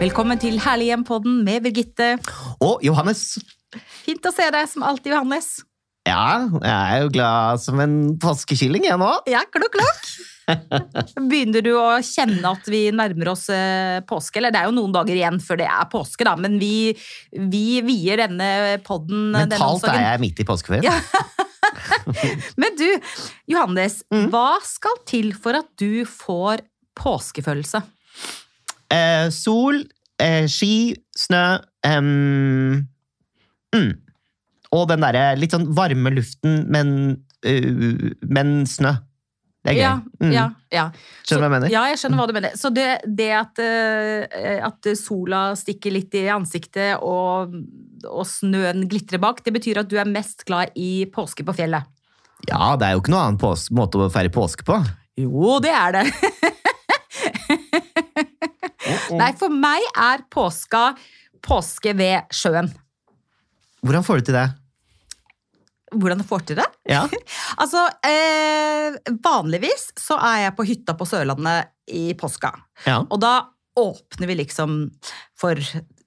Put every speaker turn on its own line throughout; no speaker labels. Velkommen til Herlig hjem-podden med Birgitte.
Og Johannes.
Fint å se deg som alltid, Johannes.
Ja, jeg er jo glad som en påskekylling, jeg nå.
Ja, klokk, klokk. Begynner du å kjenne at vi nærmer oss eh, påske? Eller det er jo noen dager igjen før det er påske, da, men vi, vi vier denne podden eh, denne
Mentalt er
omsorgen.
jeg midt i påskeferien.
Ja. Men du, Johannes,
Mm.
hva skal til for at du får påskefølelse?
Eh, sol, eh, ski, snø ehm, mm. Og den derre litt sånn varme luften, men, eh, men snø. Det er gøy.
Ja,
Mm.
ja, ja.
Skjønner du hva jeg mener?
Ja, jeg skjønner hva du mener. Så det, det at, eh, at sola stikker litt i ansiktet og, og snøen glitrer bak, det betyr at du er mest glad i påske på fjellet.
Ja, det er jo ikke noen annen pås måte å feire påske på.
Jo, det er det. Nei, for meg er påska påske ved sjøen.
Hvordan får du til det?
Hvordan jeg får til det?
Ja.
Altså, eh, vanligvis så er jeg på hytta på Sørlandet i påska.
ja.
Og da åpner vi liksom for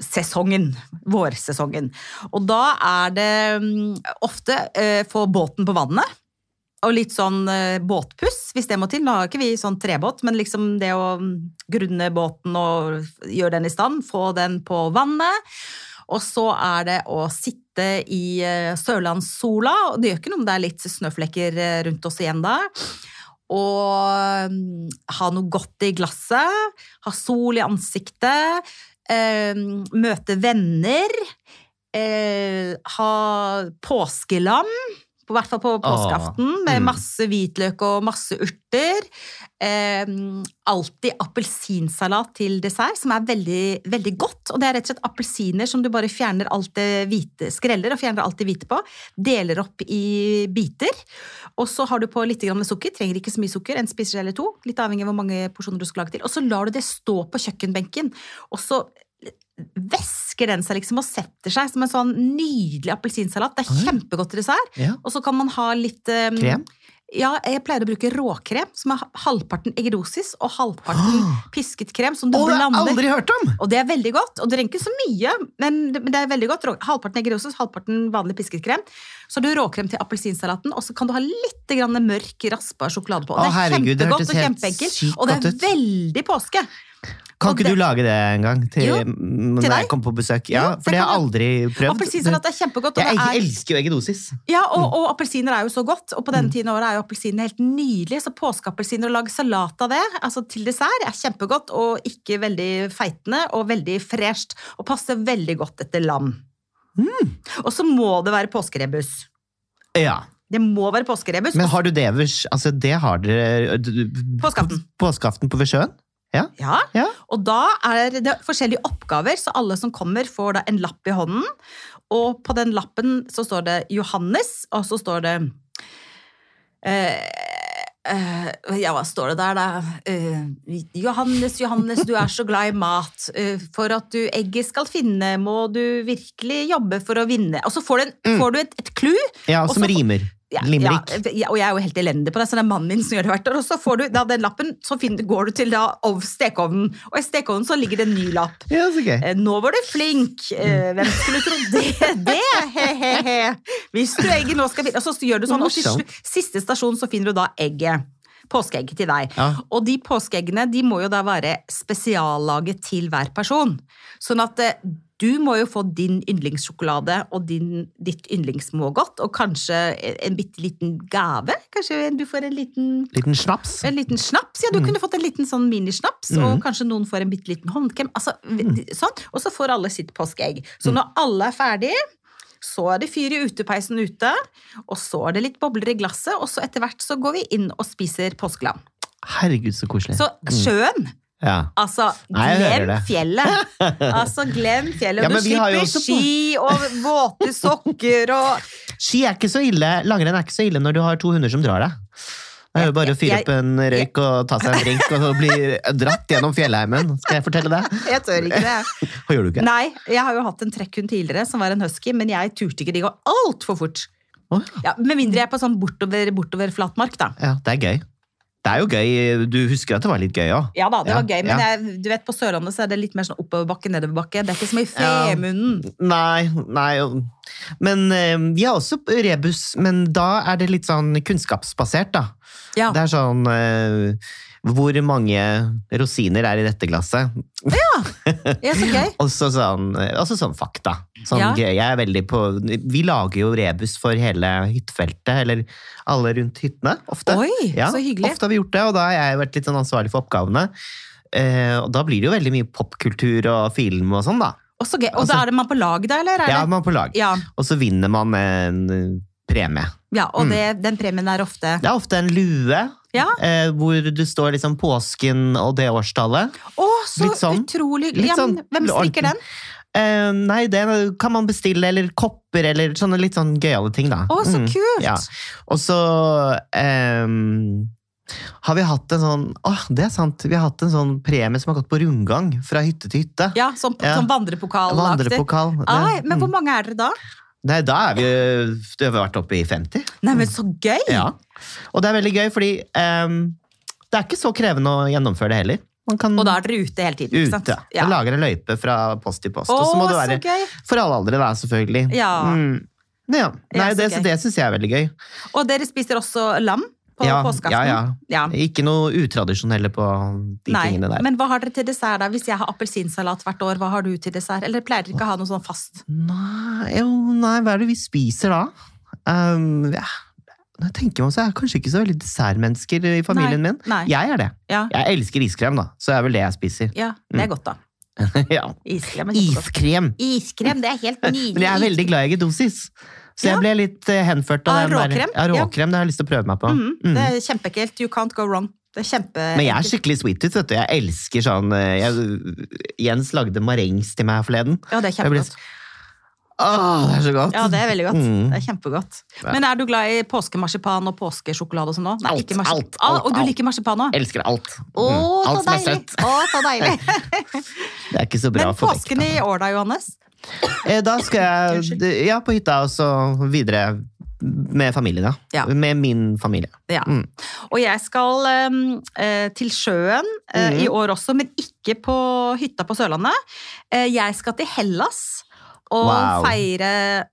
sesongen, vårsesongen. Og da er det mm, ofte eh, få båten på vannet, og litt sånn eh, båtpuss, hvis det må til. Nå har ikke vi sånn trebåt, men liksom det å mm, grunne båten og gjøre den i stand, få den på vannet. Og så er det å sitte i eh, sørlandssola, og det gjør ikke noe om det er litt snøflekker eh, rundt oss igjen da. Og mm, ha noe godt i glasset, ha sol i ansiktet, eh, møte venner, eh, ha påskelam, på hvert fall på påskeaften, med
mm.
masse hvitløk og masse urter. Eh, alltid appelsinsalat til dessert, som er veldig, veldig godt. Og det er rett og slett appelsiner som du bare fjerner alt det hvite, skreller og fjerner alt det hvite på. Deler opp i biter. Og så har du på litt grann med sukker. Trenger ikke så mye sukker, en spiseskje eller to. Litt avhengig av hvor mange porsjoner du skal lage til. Og så lar du det stå på kjøkkenbenken. Og så væsker den seg liksom og setter seg som en sånn nydelig appelsinsalat. Det er
Oi.
kjempegodt til dessert.
ja.
Og så kan man ha litt eh,
Krem?
Ja, jeg pleier å bruke råkrem, som er halvparten eggerosis og halvparten pisket krem, som du
Å, det har jeg
blander.
aldri hørt om!
Og det er veldig godt, og det trenger ikke så mye, men det, men det er veldig godt. Rå- Halvparten eggerosis, halvparten vanlig pisket krem. Så har du råkrem til appelsinsalaten, og så kan du ha litt grann mørk, raspa sjokolade på.
Å,
Det er
herregud, det
kjempegodt
hørtes
og
helt
kjempeenkelt,
sykt
og det
godt
er
ut.
veldig påske. Og
Kan ikke
det-
du lage det en gang til,
Jo,
når
til deg?
jeg kommer på besøk? Ja,
Jo, det
For det har jeg
kan
aldri prøvd.
Appelsinsalat er kjempegodt. og
Jeg
det er-
elsker Mm. jo eggedosis.
Ja, og, og appelsiner er jo så godt, og på
Mm.
denne tiden av året er jo appelsiner helt nydelige, så påskeappelsiner og lage salat av det, altså til dessert, er kjempegodt, og ikke veldig feitende, og veldig fresht, og passer veldig godt etter lam.
Mm.
Og så må det være påskerebus.
Ja.
Det må være påskerebus.
Men har du det ved sj- Altså, det har dere du- du-
Påskeaften.
Påskeaften på ved sjøen?
Ja.
Ja.
Og da er det forskjellige oppgaver, så alle som kommer får da en lapp i hånden. Og på den lappen så står det Johannes, og så står det eh, eh, Ja, hva står det der, da? Eh, Johannes, Johannes, du er så glad i mat. Eh, for at du egget skal finne, må du virkelig jobbe for å vinne. Og så får du, en,
Mm.
får du et, et clou.
Ja,
Og
som
så-
rimer.
Ja,
Limerick.
Ja, ja, og jeg er jo helt elendig på det, så det er mannen min som gjør det hvert år. Og så får du da den lappen, så finner, går du til da ov- stekeovnen, og i stekeovnen så ligger det en ny lapp.
Ja, så gøy.
Eh, Nå var du flink!
mm.
Eh, Hvem skulle tro det? det? He-he-he! Hvis du egget nå skal finne Og så gjør du sånn, og til
Morsomt.
slutt- siste stasjon så finner du da egget. Påskeegget til deg.
Ja.
Og de påskeeggene de må jo da være spesiallaget til hver person. Sånn at eh, du må jo få din yndlingssjokolade og din, ditt yndlingsmågodt, og kanskje en bitte liten gave. Kanskje du får en liten,
Liten snaps.
en liten snaps.
Mm.
Ja, du kunne fått en liten sånn minisnaps, og kanskje noen får en bitte liten håndkrem. Altså,
Mm.
sånn. Og så får alle sitt påskeegg. Så når alle er ferdige, så er det fyr i utepeisen ute, og så er det litt bobler i glasset, og så etter hvert så går vi inn og spiser påskelam.
Herregud, så koselig.
Så sjøen
Ja.
Altså,
Mm. Nei, jeg hører
glem
det.
fjellet. Altså, glem fjellet.
Ja,
Og
men
du
vi har jo
slipper
også på-
ski og våte sokker og
Ski er ikke så ille. Langrenn er ikke så ille når du har to hunder som drar deg. Det er jo bare å fyre
Jeg-
opp en røyk og ta seg en drink, og så bli dratt gjennom fjellheimen. Skal jeg fortelle det?
Jeg tør ikke det.
Hva gjør du ikke?
Nei, jeg har jo hatt en trekkhund tidligere som var en husky, men jeg turte ikke. De går altfor fort.
Å, ja.
Ja, med mindre jeg er på sånn bortover, bortover flatmark, da.
ja, det er gøy. Det Det er jo gøy. Du husker at det var litt gøy òg?
Ja da, det
Ja,
var gøy, men
ja.
jeg, du vet, på Sørlandet så er det litt mer sånn oppoverbakke, nedoverbakke. Det er ikke så mye
Ja.
femunnen.
Nei, nei og- Men eh, vi har også rebus, men da er det litt sånn kunnskapsbasert, da.
Ja.
Det er sånn eh, Hvor mange rosiner er i dette glasset?
ja, så gøy.
Og så sånn, også sånn fakta. Sånn
Ja.
gøy. Jeg er veldig på Vi lager jo rebus for hele hyttefeltet, eller alle rundt hyttene, ofte.
Oi,
Ja,
så hyggelig.
Ofte har vi gjort det, og da har jeg vært litt sånn ansvarlig for oppgavene. Eh, og da blir det jo veldig mye popkultur og film og sånn, da.
Og, så gøy. og da
Altså-
er det man på lag da, eller? Er
Ja,
det?
man er på lag.
Ja.
Og så vinner man en eh, premie.
ja, og
Mm.
det, den premien er ofte
Det er ofte en lue
Ja.
eh, hvor det står liksom påsken og det årstallet.
Å, så
Litt sånn.
utrolig
Litt
hyggelig. Ja, men
sånn
hvem strikker
ordentlig.
den?
Eh, nei, det kan man bestille, eller kopper, eller sånne litt sånn gøyale ting, da.
Å, så
Mm.
kult!
Ja. Og så ehm, har vi hatt en sånn Åh, det er sant! Vi har hatt en sånn premie som har gått på rundgang fra hytte til hytte.
Ja, sånn,
Ja.
sånn vandrepokalaktig.
Vandrepokal. Det-
Ai, Ah, men hvor
mm.
mange er dere da?
Nei, da er vi jo Du har vært oppe i 50.
Nei, men så gøy!
Ja. Og det er veldig gøy, fordi ehm, det er ikke så krevende å gjennomføre det heller. Man kan
Og da er dere ute hele tiden, ikke sant?
ute.
Ja.
Jeg lager en løype fra post til post.
Å,
og så må det
så
være
gøy!
For alle aldre, da, selvfølgelig.
Ja.
Mm. Ja. Nei,
Ja, så
det,
gøy.
så det syns jeg er veldig gøy.
Og dere spiser også lam på
ja,
påskeaften?
ja, ja.
Ja.
Ikke noe utradisjonelle på de
Nei,
tingene der.
men hva har dere til dessert da? Hvis jeg har appelsinsalat hvert år, hva har du til dessert? Eller pleier dere ikke å ha noe sånn fast?
Nei, jo, nei, hva er det vi spiser da? Um, ja. Når jeg tenker meg om, så er jeg kanskje ikke så veldig dessertmennesker i familien min.
Nei.
Jeg er det.
Ja.
Jeg elsker iskrem, da. Så er vel det jeg spiser.
Ja, det er godt da.
ja.
Iskrem er kjempegodt.
Mm. Iskrem!
Iskrem, det er helt nydelig.
Men jeg er veldig glad i eggedosis. Så
Ja.
jeg ble litt eh, henført av,
Av
den der.
råkrem?
Ja,
Ja.
råkrem. Det har jeg lyst til å prøve meg på.
Mhm,
Mm.
Det er kjempeekkelt. You can't go wrong. Det er kjempe...
Men jeg er skikkelig sweet tooth, vet du. Jeg elsker sånn eh, jeg, Jens lagde marengs til meg forleden.
Ja, det er
Jeg ble-
kjempegodt.
Åh, det er så godt!
Ja, det er veldig godt.
Mm.
Det er kjempegodt.
Ja.
Men er du glad i påskemarsipan og påskesjokolade og sånn òg?
Alt, alt, alt,
Og du
alt.
liker marsipan òg?
Jeg elsker alt. Mm.
Å, så
alt som er
deilig!
søtt.
Å, så deilig.
Det er ikke så bra
Men
for vekta.
påsken i år da, Johannes?
Eh, Da skal jeg
Unnskyld.
ja, på hytta og så videre med familien, da.
Ja.
Med min familie.
Ja.
Mm.
Og jeg skal øhm, øh, til sjøen øh, i år også, men ikke på hytta på Sørlandet. Eh, jeg skal til Hellas og
Wow.
feire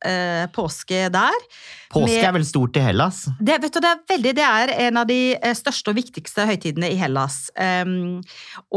øh, påske der.
Påske
Med-
er vel stort i Hellas?
Det, vet du, det, er veldig, det er en av de eh, største og viktigste høytidene i Hellas. Ehm,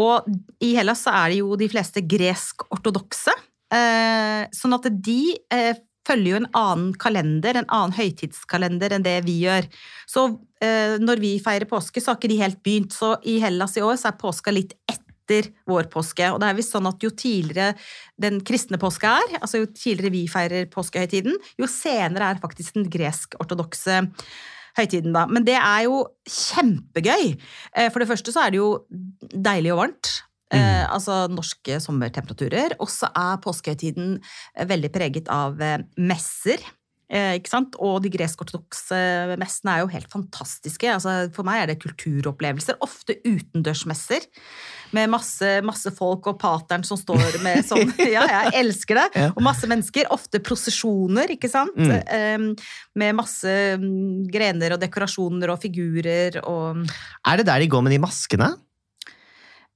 og i Hellas så er det jo de fleste gresk-ortodokse. eh, sånn at de eh, følger jo en annen kalender, en annen høytidskalender enn det vi gjør. Så eh, når vi feirer påske, så har ikke de helt begynt. Så i Hellas i år så er påska litt etter vår påske. Og det er visst sånn at jo tidligere den kristne påska er, altså jo tidligere vi feirer påskehøytiden, jo senere er faktisk den gresk-ortodokse høytiden, da. Men det er jo kjempegøy. Eh, For det første så er det jo deilig og varmt. Eh, altså norske sommertemperaturer. Og så er påskehøytiden eh, veldig preget av eh, messer. Eh, ikke sant? Og de gresk-ortodokse eh, messene er jo helt fantastiske. Altså, for meg er det kulturopplevelser. Ofte utendørsmesser. Med masse, masse folk og pateren som står med sånn Ja, jeg elsker det!
Ja.
Og masse mennesker. Ofte prosesjoner, ikke sant?
Mm.
Eh, med masse mm, grener og dekorasjoner og figurer og
Er det der de går med de maskene?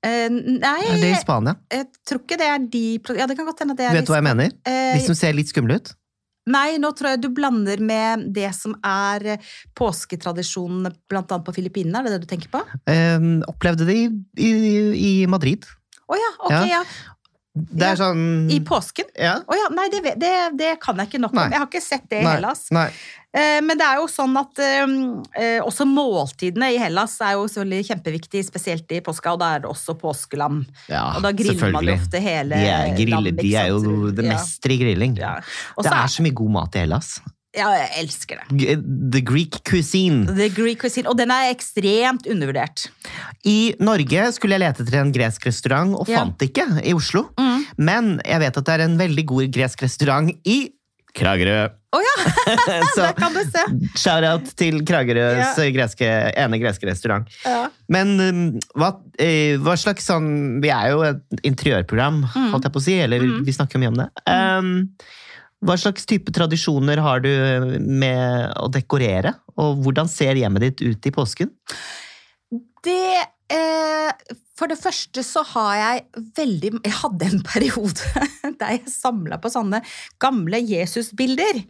Eh, Nei,
Er det i Spania?
jeg tror ikke det er de pro- Ja, det kan godt hende at det er
Vet du hva jeg mener?
Eh,
De som ser litt skumle ut?
Nei, nå tror jeg du blander med det som er eh, påsketradisjonene blant annet på Filippinene, er det det du tenker på? Å
Eh, opplevde de i, i Madrid.
ja, ok, ja.
Det er
Ja,
sånn
I påsken?
Ja.
Å ja, nei, det, vet- det, det kan jeg ikke nok om.
Nei.
Jeg har ikke sett det i
Nei.
Hellas.
Nei.
Eh, Men det er jo sånn at eh, eh, også måltidene i Hellas er jo selvfølgelig kjempeviktig, spesielt i påska, og da er det også påskelam.
Ja,
Og da griller man jo
Ah, selvfølgelig.
ofte hele
de er, grille,
lam,
de
ikke
er
sant?
jo det mestre i grilling.
Ja. ja. Og
Det
så
er
er
så mye god mat i Hellas.
Ja, jeg elsker det.
G- The Greek cuisine.
The Greek cuisine. Og den er ekstremt undervurdert.
I Norge skulle jeg lete etter en gresk restaurant, og
Ja.
fant det ikke i Oslo. Men jeg vet at det er en veldig god gresk restaurant i Kragerø.
Å ja,
Så
der kan du se!
shout-out til Kragerøs greske, ene greske restaurant.
Ja.
Men um, hva, eh, hva slags sånn Vi er jo et interiørprogram,
Mm.
holdt jeg på å si. Eller vi snakker jo mye om det. Um, hva slags type tradisjoner har du med å dekorere? Og hvordan ser hjemmet ditt ut i påsken?
Det eh, For det første så har jeg veldig Jeg hadde en periode der jeg samla på sånne gamle Jesusbilder.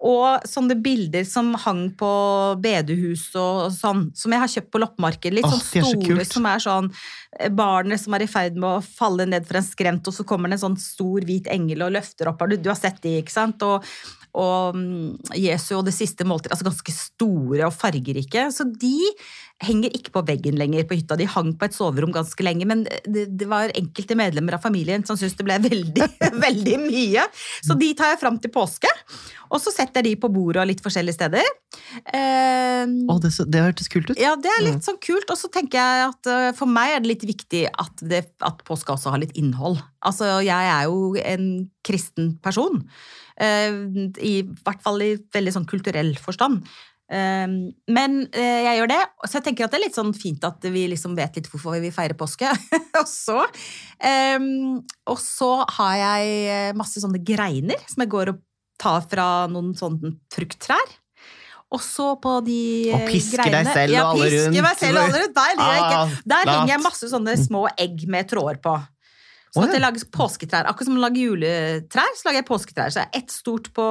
Og sånne bilder som hang på bedehus og sånn, som jeg har kjøpt på loppemarked. Litt
Åh,
sånn
det er så
store
kult.
som er sånn eh, Barnet som er i ferd med å falle ned fra en skrent, og så kommer det en sånn stor hvit engel og løfter opp. Har Du, du har sett de, ikke sant? Og, og mm, Jesu og det siste måltid. Altså ganske store og fargerike. Så de henger ikke på veggen lenger på hytta. De hang på et soverom ganske lenge, men det, det var enkelte medlemmer av familien som syntes det ble veldig, veldig mye. Så de tar jeg fram til påske, og så setter jeg de på bordet og litt forskjellige steder. Eh,
Å, det, så- det hørtes kult ut.
ja, det er
Mm.
litt sånn kult. Og så tenker jeg at eh, for meg er det litt viktig at, det, at påska også har litt innhold. Altså, jeg er jo en kristen person. eh, I hvert fall i veldig sånn kulturell forstand. Eh, Men eh, jeg gjør det, så jeg tenker at det er litt sånn fint at vi liksom vet litt hvorfor vi feirer påske. og, så, eh, og så har jeg eh, masse sånne greiner som jeg går og tar fra noen sånne frukttrær. Og så på de
Og
eh,
pisker deg
greinene
selv
ja,
og alle
pisker
rundt.
meg selv og alle rundt. Der, liker jeg ikke.
Ah,
der
lat.
henger jeg masse sånne små egg med tråder på.
Å,
Så at
ja.
det lages påsketrær. Akkurat som man lager juletrær, så lager jeg påsketrær. Så jeg har ett stort på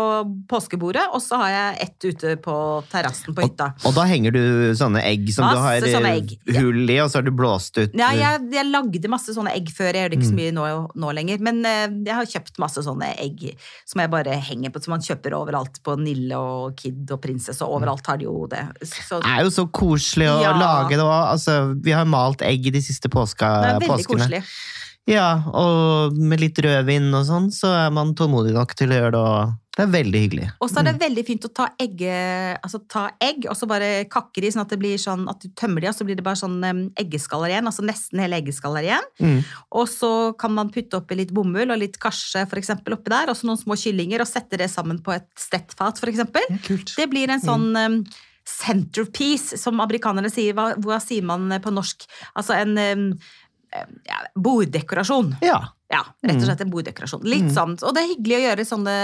påskebordet, og så har jeg ett ute på terrassen på hytta.
Og da henger du sånne egg som du har
Masse sånne
eh,
egg, ja.
hull i, og så har du blåst ut
Ja,
eh,
jeg, jeg lagde masse sånne egg før, jeg gjør det ikke så mye nå, nå lenger. Men eh, jeg har kjøpt masse sånne egg som jeg bare henger på, som man kjøper overalt på Nille og Kid og Prinsesse, og overalt har de jo det. Så,
Det er jo så koselig å
Ja.
lage det òg. Altså, vi har malt egg de siste påska,
det er veldig
påskene.
koselig.
Ja, og med litt rødvin og sånn, så er man tålmodig nok til å gjøre det. Og det er veldig hyggelig.
Og så er det veldig fint å ta, egge, altså ta egg, og så bare kakker i, sånn at, det blir sånn at du tømmer de, og så blir det bare sånn em, eggeskaller igjen, altså nesten hele eggeskaller igjen.
Mm.
Og så kan man putte oppi litt bomull og litt karse for eksempel oppi der, og så noen små kyllinger, og sette det sammen på et stettfat for eksempel.
Kult.
Det blir en sånn em, centerpiece, som amerikanerne sier. Hva, hva sier man på norsk? Altså en em, em, ja, borddekorasjon.
Ja.
Ja, rett og slett en borddekorasjon. Litt sånn. Og det er hyggelig å gjøre sånne,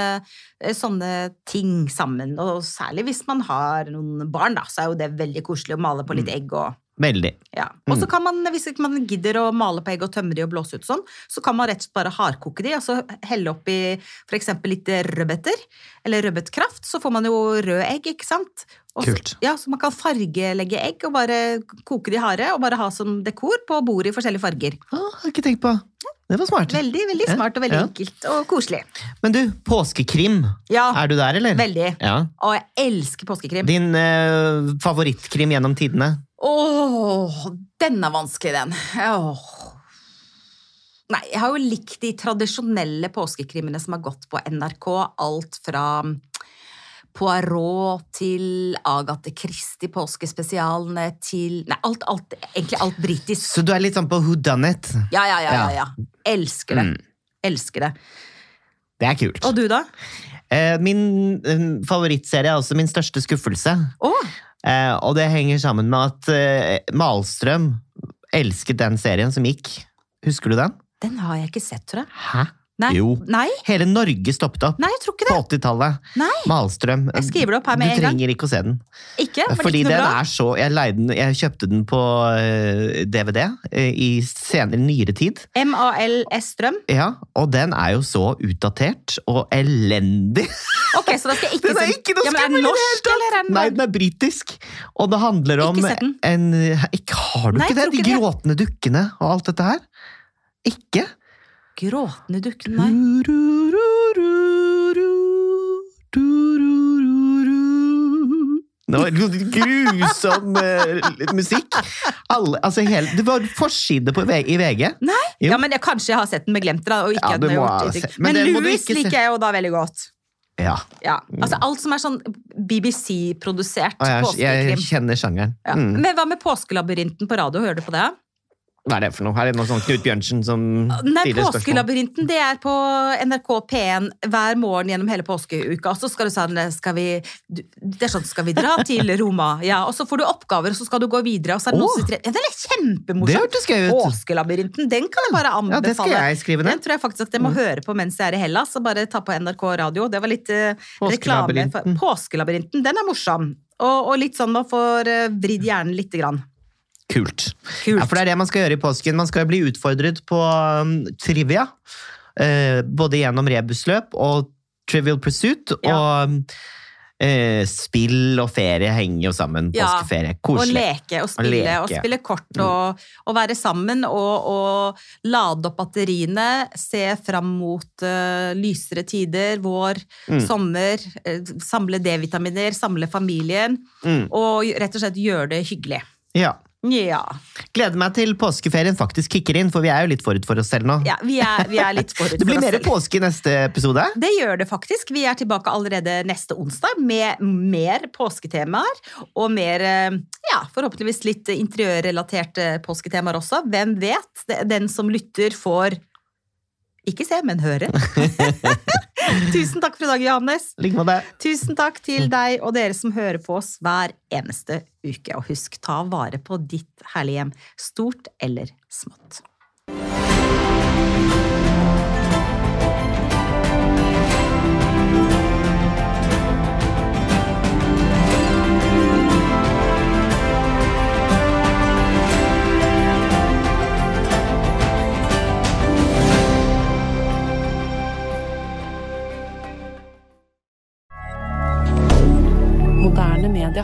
sånne ting sammen. Og særlig hvis man har noen barn, da, så er jo det veldig koselig å male på litt egg og
Veldig.
ja. Og
Mm.
så kan man, hvis ikke man gidder å male på egg og tømme de og blåse ut sånn, så kan man rett og slett bare hardkoke de, og så helle oppi for eksempel litt rødbeter, eller rødbetkraft, så får man jo rød egg, ikke sant? Og så-
Kult.
Ja, så man kan fargelegge egg og bare koke de harde, og bare ha som dekor på bordet i forskjellige farger.
Ah, har ikke tenkt på. Det var smart.
Veldig, veldig
Ja,
smart og veldig
ja.
enkelt og koselig.
Men du, påskekrim.
Ja,
Er du der, eller?
veldig.
Ja.
Og jeg elsker påskekrim.
Din eh, favorittkrim gjennom tidene?
Åh, den er vanskelig, den. Åh. Nei, jeg har jo likt de tradisjonelle påskekrimene som har gått på NRK. Alt fra mm, Poirot til Agathe Christie, påskespesialene til Nei, alt, alt, egentlig alt britisk.
Så du er litt sånn på whodunit?
Ja, ja, ja, ja. ja. Elsker det.
Mm.
Elsker det.
Det er kult.
Og du, da?
Eh, min eh, favorittserie er også min største skuffelse.
Åh,
Eh, og det henger sammen med at eh, Malstrøm elsket den serien som gikk. Husker du den?
den har jeg ikke sett, tror jeg.
Hæ?
Nei.
Jo.
Nei,
Hele Norge stoppet opp
nei jeg tror ikke
på
det.
80-tallet.
Nei.
Malstrøm.
Jeg skriver det opp her med en
Du
gang.
trenger ikke å se den.
Ikke? Var det
Fordi
ikke noe
den
bra?
er så Jeg, leide den, jeg kjøpte den på eh, DVD eh, i senere nyere tid.
M-A-L-S Strøm.
Ja, og den er jo så utdatert og elendig.
Ok, så da skal jeg ikke
Den er
se-
ikke noe
Liksom- ja, men
skummel i det hele
norsk, eller er den
Nei, den er britisk. Og det handler om
Ikke sett den.
en ikke, Har du
Nei,
ikke
jeg
det?
tror
De
ikke det.
gråtende dukkene og alt dette her. Ikke?
Gråtende dukken,
Mm.
nei.
Du-ru-ru-ru-ru-ru-ru-ru. Det var grusom eh, musikk. Alle, altså hele, det var forside på, V- i VG. Jo.
Ja, men jeg, Kanskje jeg har sett den med glemt det, da. Og ikke
Ja,
at den
det
har
må
gjort
jeg ha
inntrykk.
sett. Men
Men,
den må du
Louis
ikke se.
liker jeg jo da veldig godt.
Ja.
Ja. Altså alt som er sånn BBC-produsert
Og jeg, jeg
påskekrim.
kjenner sjangeren.
Ja.
Mm.
Men hva med Påskelabyrinten på radio? Hører du på det?
Hva er det for noe? Er det noe sånn Knut Bjørnsen som
Nei,
stiller spørsmål?
Påskelabyrinten det er på NRK P1 hver morgen gjennom hele påskeuka. Og så skal du sånn skal vi, du- Det er sånn Skal vi dra til Roma? Ja, Og så får du oppgaver, og så skal du gå videre. Og så er det noen
Åh.
som sitter- ja, Det er litt
Det
kjempemorsomt.
hørtes gøy ut.
Påskelabyrinten, den kan jeg bare
Ja, det skal
anbefale.
jeg skrive
Den
ned.
tror jeg faktisk at jeg må høre på mens jeg er i Hellas, og bare ta på NRK radio. Det var litt eh, reklame. for-
Påskelabyrinten.
Påskelabyrinten, den er morsom. Og, og litt sånn man får eh, vridd hjernen lite grann.
Kult.
Kult.
Ja, for det er det man skal gjøre i påsken. Man skal bli utfordret på um, trivia. eh, både gjennom rebusløp og Trivial Pursuit.
Ja.
Og um, eh, spill og ferie henger jo sammen.
Ja,
Påskeferie.
Og
Koselig.
leke og spille
leke. Mm.
og spille kort og, og være sammen og, og lade opp batteriene, se fram mot eh, lysere tider, vår,
Mm.
sommer, eh, samle D-vitaminer, samle familien
Mm.
og rett og slett gjøre det hyggelig.
Ja.
Ja.
Gleder meg til påskeferien faktisk kicker inn, for vi er jo litt forut for oss selv nå.
ja vi, er, vi er litt forut
Det blir
for oss
mer
selv.
påske i neste episode.
Det gjør det faktisk. Vi er tilbake allerede neste onsdag med mer påsketemaer. Og mer, eh, ja, forhåpentligvis litt interiørrelaterte påsketemaer også. Hvem vet? Det- Den som lytter, får ikke se, men høre. Tusen takk for i dag, Johannes.
Ligg med det.
Tusen takk til deg og dere som hører på oss hver eneste uke. Og husk, ta vare på ditt herlige hjem, stort eller smått.
Moderne media.